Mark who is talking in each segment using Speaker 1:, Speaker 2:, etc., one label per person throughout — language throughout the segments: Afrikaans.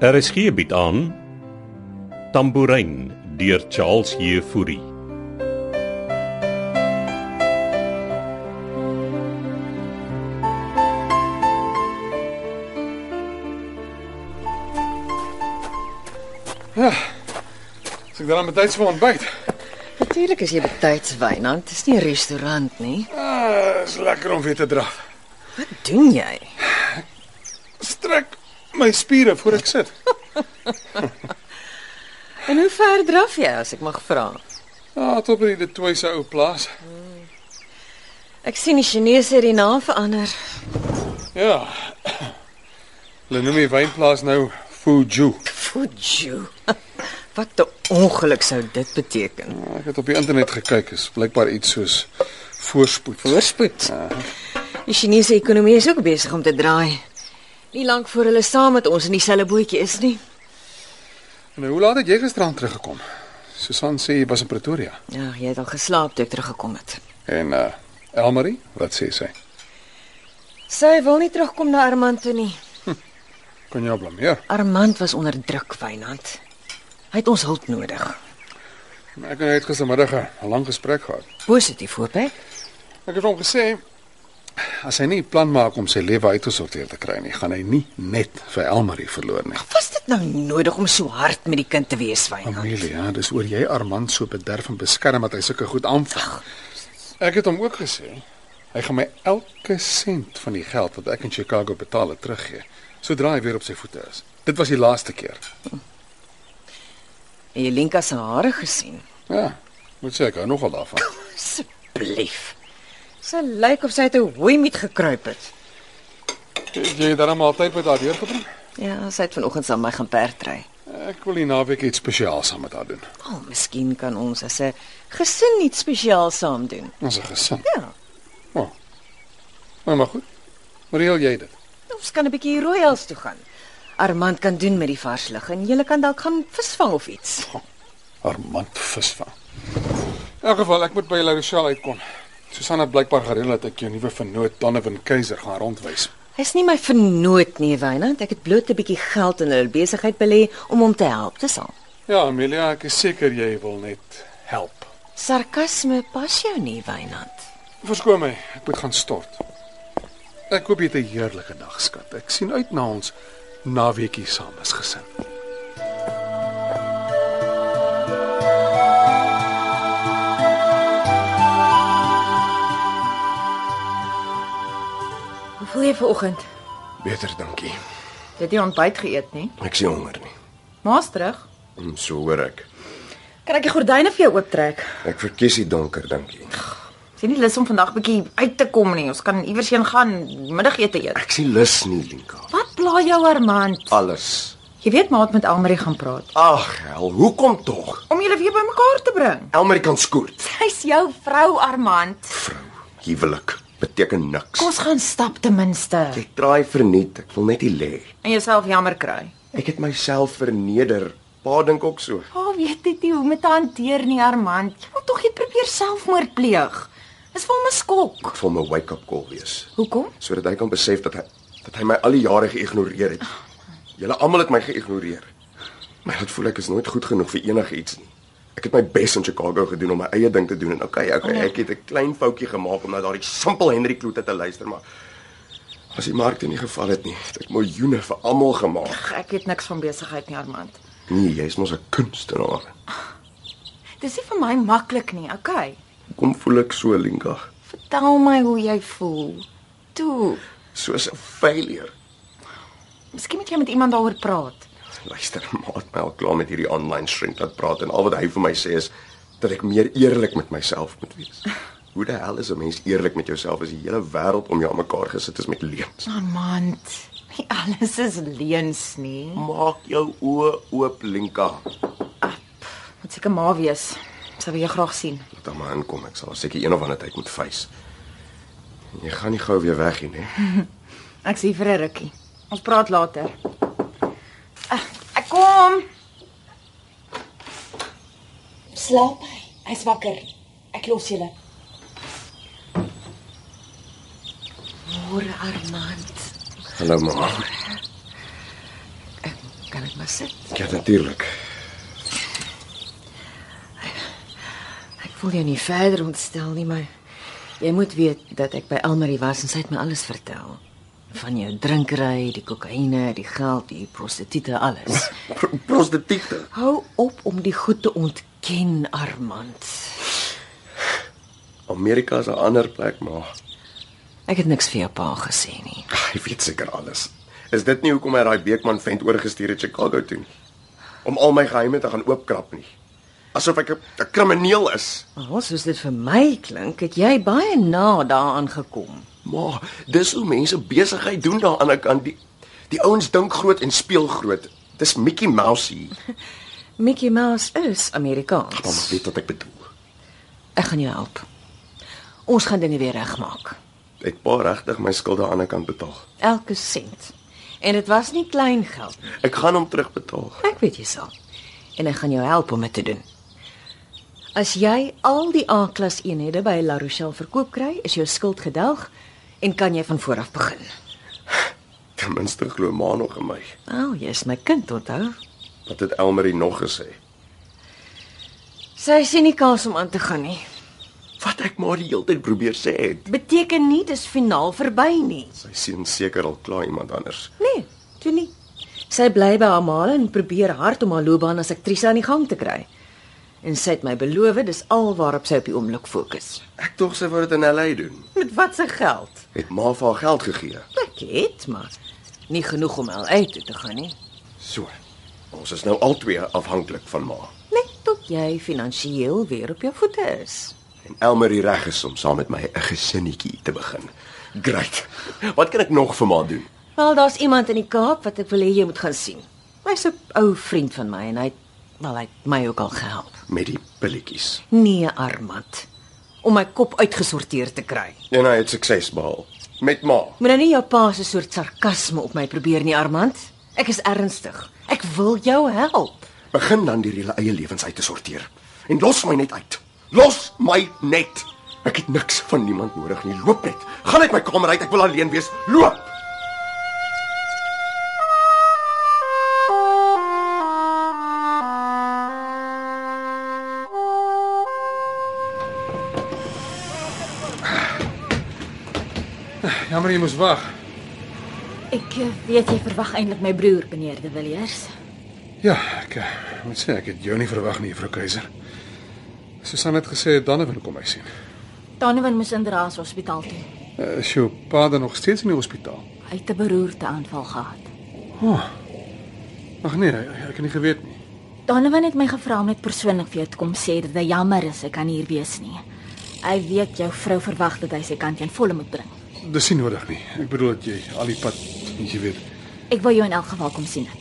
Speaker 1: RSG bied Er aan Tambourin deur Charles Heffury.
Speaker 2: As ek dan betyds vir ontbyt.
Speaker 3: Natuurlik is jy betyds Wynand, dis nie 'n restaurant nie.
Speaker 2: Ah, is lekker om weer te draf.
Speaker 3: Wat doen jy?
Speaker 2: Strek my spiere voor ek sit.
Speaker 3: En hoe ver draf jy as ek mag vra?
Speaker 2: Ah, tot by die Twyse ou plaas.
Speaker 3: Ek sien die Chinese het die naam verander.
Speaker 2: Ja. Hulle noem die wynplaas nou Fuju.
Speaker 3: Fuju. Wat 'n ongeluk sou dit beteken.
Speaker 2: Ah, Ek het op die internet gekyk, is blykbaar iets soos voorspoed.
Speaker 3: Voorspoed. Die Chinese ekonomie is ook besig om te draai. Nie lank voor hulle saam met ons in dieselfde bootjie is nie.
Speaker 2: Nou, hoe laat het jy gisteraan teruggekom? Susan sê jy was in Pretoria.
Speaker 3: Ja, jy het al geslaap toe ek teruggekom het.
Speaker 2: En uh Elmarie, wat sê sy?
Speaker 3: Sy wil nie terugkom na Armand toe nie.
Speaker 2: Kan jy haar blameer?
Speaker 3: Armand was onder druk, Wynand. Hy het ons hulp nodig.
Speaker 2: Ek en hy het gistermiddag 'n lang gesprek gehad.
Speaker 3: Positief hoop ek.
Speaker 2: Ek het hom gesê as hy nie 'n plan maak om sy lewe uitgesorteer te kry nie, gaan hy nie net vir Elmarie verloor nie.
Speaker 3: Was dit nou nodig om so hard met die kind te wees,
Speaker 2: Oh
Speaker 3: Wynand?
Speaker 2: Amelia, ja, dis oor jy Armand so bederf en beskerm dat hy sulke goed aanvang. Ek het hom ook gesê hy gaan my elke sent van die geld wat ek in Chicago betaal het teruggee sodra hy weer op sy voete is. Dit was die laaste keer.
Speaker 3: En Jelinka se hare gesien.
Speaker 2: Ja, moet sê ek hou nogal daarvan.
Speaker 3: Asseblief. Sy lyk of sy uit 'n hooi met gekruip het.
Speaker 2: Het jy darem altyd met haar deurgebring?
Speaker 3: Ja, sy het vanoggend saam my gaan perdry.
Speaker 2: Ek wil die naweek iets spesiaals saam met haar doen.
Speaker 3: O, oh, miskien kan ons as 'n gesin iets spesiaal saam doen.
Speaker 2: Ons is gesin.
Speaker 3: Ja,
Speaker 2: Maar maar goed. Reël jy dit?
Speaker 3: ons kan 'n bietjie Royals toe gaan. Armand kan doen met die vars lig en jy kan dalk gaan visvang of iets.
Speaker 2: Armand visvang. In elk geval, ek moet by La Rochelle uitkom. Susanna het blykbaar gereël dat ek jou nuwe vernoot Donovan Keiser gaan rondwys.
Speaker 3: Hy's nie my vernoot nie, Wynand. Ek het bloot 'n bietjie geld in hulle besigheid belê om hom te help te sal.
Speaker 2: Ja, Amelia, ek is seker jy wil net help.
Speaker 3: Sarkasme pas jou nie, Wynand.
Speaker 2: Verskoon my, ek moet gaan stort. Ek hoop jy het 'n heerlike dag, skat. Ek sien uit na ons naweekie saam as gesin.
Speaker 4: Hoe voel jy vanoggend?
Speaker 5: Beter, dankie.
Speaker 4: Jy het nie ontbyt geëet nie.
Speaker 5: Ek sien honger nie.
Speaker 4: Maas terug.
Speaker 5: En so hoor ek.
Speaker 4: Kan ek die gordyne vir jou ooptrek?
Speaker 5: Ek verkies die donker, dankie.
Speaker 4: Is jy nie lus om vandag bietjie uit te kom nie? Ons kan iewers heen gaan, middagete eet.
Speaker 5: Ek sien lus nie, Linka.
Speaker 4: Wat pla jou, Armand?
Speaker 5: Alles.
Speaker 4: Jy weet maar het met Almarie gaan praat
Speaker 5: Ag, hel, hoekom tog?
Speaker 4: om julle weer bymekaar te bring.
Speaker 5: Elmerikan skoort.
Speaker 4: Sy's jou vrou, Armand.
Speaker 5: Vrou, huwelik beteken niks.
Speaker 4: Kom ons gaan stap ten minste
Speaker 5: Jy traai verniet. Ek wil net nie lê.
Speaker 4: en jouself jammer kry.
Speaker 5: Ek het myself verneder. Pa dink ook so.
Speaker 4: Pa oh, weet dit nie hoe om dit te hanteer nie, Armand. Jy moet tog net probeer selfmoord pleeg. Dis vir my skok.
Speaker 5: Ek wil my wake-up call wees
Speaker 4: Hoekom?
Speaker 5: sodat hy kan besef dat hy dat hy my al die jare geïgnoreer het. Julle almal het my geïgnoreer. Maar dit voel ek is nooit goed genoeg vir enigiets nie. Ek het my bes in Chicago gedoen om my eie ding te doen en okay, okay, ek het 'n klein foutjie gemaak om na daardie simpel Henry Kloete te luister, maar as die markte nie geval het nie, het ek miljoene vir almal gemaak.
Speaker 4: Ek weet niks van besigheid nie, Armand.
Speaker 5: Nee, jy's mos 'n kunstenaar.
Speaker 4: Dis nie vir my maklik nie, okay?
Speaker 5: Kom voel ek so, Linka,
Speaker 4: Vertel my hoe jy voel. Toe,
Speaker 5: soos 'n failure.
Speaker 4: miskien moet jy met iemand daaroor praat.
Speaker 5: Luister, maat my al klaar met hierdie online shrink wat praat en al wat hy vir my sê is dat ek meer eerlik met myself moet wees. Hoe die hel is 'n mens eerlik met jouself as die hele wêreld om jou aan mekaar gesit is met leuns?
Speaker 4: Armand, nie alles is leuns nie.
Speaker 5: Maak jou oë oop, Linka.
Speaker 4: Moet seker maar wees. Sou wil jou graag sien.
Speaker 5: Laat hom maar inkom, ek sal haar seker een of ander tyd moet face. Jy gaan nie gou weer weg hier nee. nie.
Speaker 4: Ek sien vir 'n rukkie. Ons praat later. Ah, Ek kom.
Speaker 6: Slaap hy. Hy's wakker. Ek los julle.
Speaker 3: Môre Armand,
Speaker 5: Hallo ma.
Speaker 3: kan ek sit?
Speaker 5: Ja, natuurlik.
Speaker 3: Ek wil jou nie verder ontstel nie, maar jy moet weet dat ek by Elmarie was en sy het my alles vertel. Van jou drinkery, die kokaine, die geld, die prostituie, alles.
Speaker 5: Pro prostituie.
Speaker 3: Hou op om die goed te ontken, Armand.
Speaker 5: Amerika is 'n ander plek, maar
Speaker 3: Ek het niks vir jou pa gesê nie.
Speaker 5: hy weet seker alles. Is dit nie hoekom hy daai Beekman vent oorgestuur het Chicago toe nie? Om al my geheime te gaan oopkrap nie. Asof ek 'n 'n krimineel is.
Speaker 3: Maar soos dit vir my klink, het jy baie na daaraan gekom.
Speaker 5: Maar dis hoe mense besigheid doen daar aan die kant. Die die ouens dink groot en speel groot. Dis Mickey Mouse hier.
Speaker 3: Mickey Mouse is
Speaker 5: Maar maar
Speaker 3: Amerikaans.
Speaker 5: weet wat ek bedoel.
Speaker 3: Ek gaan jou help. Ons gaan dinge weer regmaak.
Speaker 5: Het pa regtig my skuld aan die ander kant betaal?
Speaker 3: Elke sent. En dit was nie klein geld nie.
Speaker 5: Ek gaan hom terugbetaal.
Speaker 3: Ek weet jy sal. En ek gaan jou help om dit te doen. As jy al die A-klas eenhede by La Rochelle verkoop kry, is jou skuld gedelg en kan jy van voor af begin.
Speaker 5: Ten minste glo ma nog in my.
Speaker 3: Nou, oh, jy is my kind, onthou.
Speaker 5: Wat het Elmarie nog gesê?
Speaker 3: Sy sien nie kans om aan te gaan nie.
Speaker 5: Wat ek maar die hele tyd probeer sê het.
Speaker 3: Beteken nie dis finaal verby nie.
Speaker 5: Sy sien seker al klaar iemand anders.
Speaker 3: Nee, toe nie. Sy bly by haar ma en probeer hard om haar loopbaan as aktrise aan die gang te kry. En sy het my beloof dis al waarop sy op die oomblik fokus.
Speaker 5: Ek tog sy wou dit in LA doen.
Speaker 3: Met wat se geld?
Speaker 5: Het ma vir haar geld gegee.
Speaker 3: Ek het, maar nie genoeg om LA toe te gaan nie.
Speaker 5: So. Ons is nou albei afhanklik van ma.
Speaker 3: Net tot jy finansiëel weer op jou voete is.
Speaker 5: En Elmarie reg is om saam met my 'n gesinnetjie te begin. Great. Wat kan ek nog vir ma doen?
Speaker 3: Wel, daar's iemand in die Kaap wat ek wil hê jy moet gaan sien. Hy's 'n ou vriend van my en hy het- wel hy het my ook al gehelp.
Speaker 5: Met die pilletjies.
Speaker 3: Nee, Armand, om my kop uitgesorteer te kry.
Speaker 5: En hy het sukses behaal met ma.
Speaker 3: Moet nou nie jou pa se soort sarkasme op my probeer nie, Armand. Ek is ernstig. Ek wil jou help.
Speaker 5: Begin dan die hele eie lewens uit te sorteer en los my net uit. Los my net. Ek het niks van niemand nodig nie. Loop net. Gaan uit my kamer uit. Ek wil alleen wees. Loop.
Speaker 2: Jammer jy moes wag.
Speaker 7: Ek eh, weet jy verwag eintlik my broer, meneer De Villiers.
Speaker 2: Ja, ek eh, moet sê ek het jou nie verwag nie, Juffrou Keiser. Susan het gesê Donovan kom hy sien.
Speaker 7: Donovan moes in Draas hospitaal toe.
Speaker 2: Eh, Is jou pa dan nog steeds in die hospitaal?
Speaker 7: Hy het 'n beroerte aanval gehad.
Speaker 2: Ag nee, ek ek het nie geweet nie.
Speaker 7: Donovan het my gevra om net persoonlik vir jou te kom sê dat hy jammer is ek kan hier wees nie. Hy weet jou vrou verwag dat hy sy kant teen volle moet bring.
Speaker 2: Dis nie nodig nie. Ek bedoel dat jy al die pad, jy weet,
Speaker 7: Ek wou jou in elk geval kom sien het.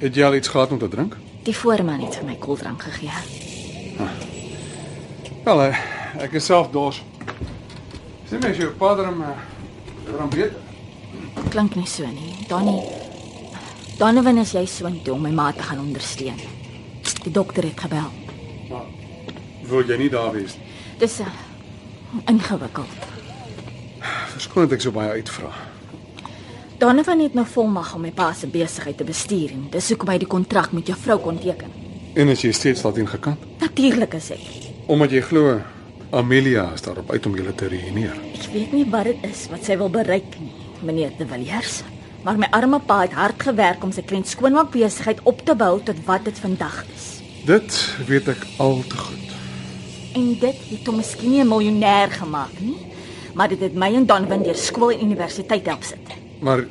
Speaker 2: het jy al iets gehad om te drink?
Speaker 7: Die voorman het vir my koeldrank gegee.
Speaker 2: Wel, eh, ek is self dors. Sien mens jou pa dan dan beter.
Speaker 7: Klink nie so nie. Donnie Donovan is jy soontoe om my ma te gaan ondersteun. Die dokter het gebel.
Speaker 2: Maar wil jy nie daar wees nie?
Speaker 7: Dis uh, ingewikkeld.
Speaker 2: Verskoon dat ek so baie uitvra.
Speaker 7: Donovan het nou volmag om my pa se besigheid te bestuur en dis hoekom hy die kontrak met jou vrou kon teken.
Speaker 2: En as jy steeds daarin gekant,
Speaker 7: Natuurlik is ek.
Speaker 2: omdat jy glo Amelia is daarop uit om julle te reëneer.
Speaker 7: Ek weet nie wat dit is wat sy wil bereik nie, meneer De Villiers, maar my arme pa het hard gewerk om sy klein skoonmaak besigheid op te bou tot wat dit vandag is.
Speaker 2: Dit weet ek al te goed.
Speaker 7: En dit het hom miskien nie 'n miljonair gemaak nie, maar dit het my en Donovan deur skool en universiteit help sit.
Speaker 2: Maar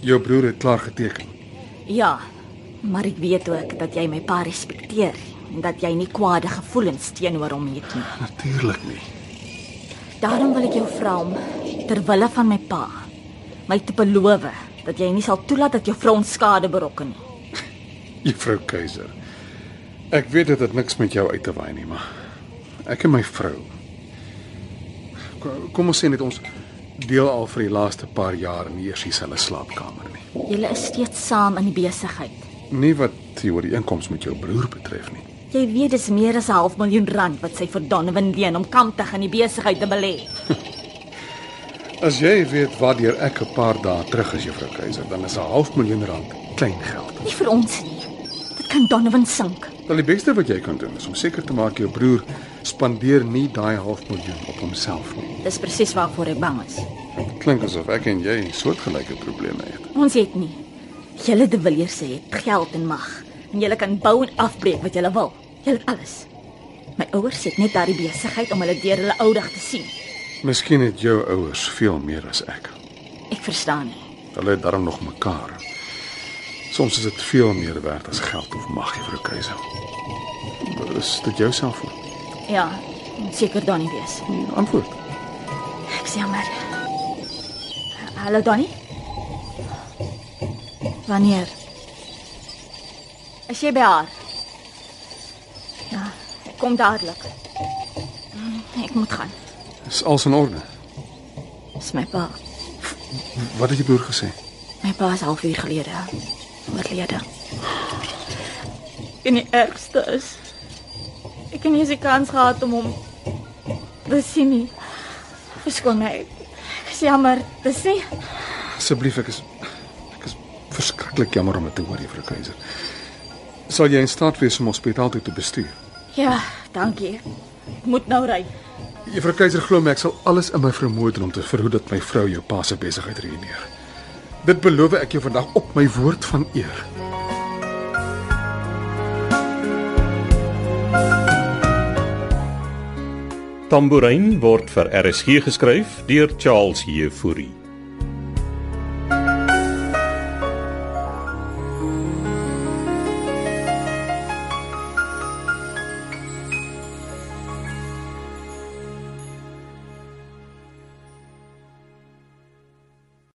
Speaker 2: jou broer het klaar geteken.
Speaker 7: Ja, maar ek weet ook dat jy my pa respekteer en dat jy nie kwade gevoelens teenoor hom het nie.
Speaker 2: Natuurlik nie.
Speaker 7: Daarom wil ek jou vra om ter wille van my pa my te beloof dat jy nie sal toelaat dat jou vrou ons skade berokken nie.
Speaker 2: Juffrou Keiser. Ek weet dit het niks met jou uit te waai nie, maar ek en my vrou. Ko- Kom ons sê net ons deel al vir die laaste paar jaar nie eers dieselfde slaapkamer nie.
Speaker 7: Julle is steeds saam in die besigheid.
Speaker 2: Nie wat jy oor die inkomste met jou broer betref nie.
Speaker 7: Jy weet dis meer as 'n half miljoen rand wat sy vir Donovan leen om kamp te gaan die besigheid te belê.
Speaker 2: As jy weet waardeur ek 'n paar dae terug is, Juffrou Keiser, dan is 'n half miljoen rand klein geld.
Speaker 7: Nie vir ons nie. Dit kan Donovan sink.
Speaker 2: Wel die beste wat jy kan doen is om seker te maak jou broer spandeer nie daai half miljoen op homself nie.
Speaker 7: Dis presies waarvoor ek bang is.
Speaker 2: Klink asof ek en jy soortgelyke probleme het.
Speaker 7: Ons het nie. Julle De Villiers sê het geld en mag en julle kan bou en afbreek wat julle wil. Julle het alles. My ouers het net daardie besigheid om hulle deur hulle oudag te sien.
Speaker 2: Miskien het jou ouers veel meer as ek.
Speaker 7: Ek verstaan nie.
Speaker 2: Hulle het darm nog mekaar. Soms is dit veel meer werd as geld of mag, Juffrou Keiser. Is dit jou selfoon?
Speaker 7: Ja, moet seker Donnie wees.
Speaker 2: Nee, Antwoord.
Speaker 7: Ek sê maar. Hallo Donnie. Wanneer? As jy by haar. Ja, ek kom dadelik. Ek moet gaan.
Speaker 2: Is alles in orde?
Speaker 7: Dis my pa.
Speaker 2: Wat het jou broer gesê?
Speaker 7: My pa is halfuur gelede oorlede. En die ergste is ek het nie eens die kans gehad om hom te sien nie. Verskoon my. Ek is jammer. Dis nie
Speaker 2: Asseblief, ek is ek is verskriklik jammer om dit te hoor, Juffrou Keiser. Sal jy in staat wees om ons hospitaal toe te bestuur?
Speaker 7: Ja, dankie. Ek moet nou ry.
Speaker 2: Juffrou Keiser glo my, ek sal alles in my vermoë doen om te verhoed dat my vrou jou pa se besigheid ruïneer. Dit beloof ek jou vandag op my woord van eer.
Speaker 1: Tambourin word vir RSG geskryf deur Charles Heffury.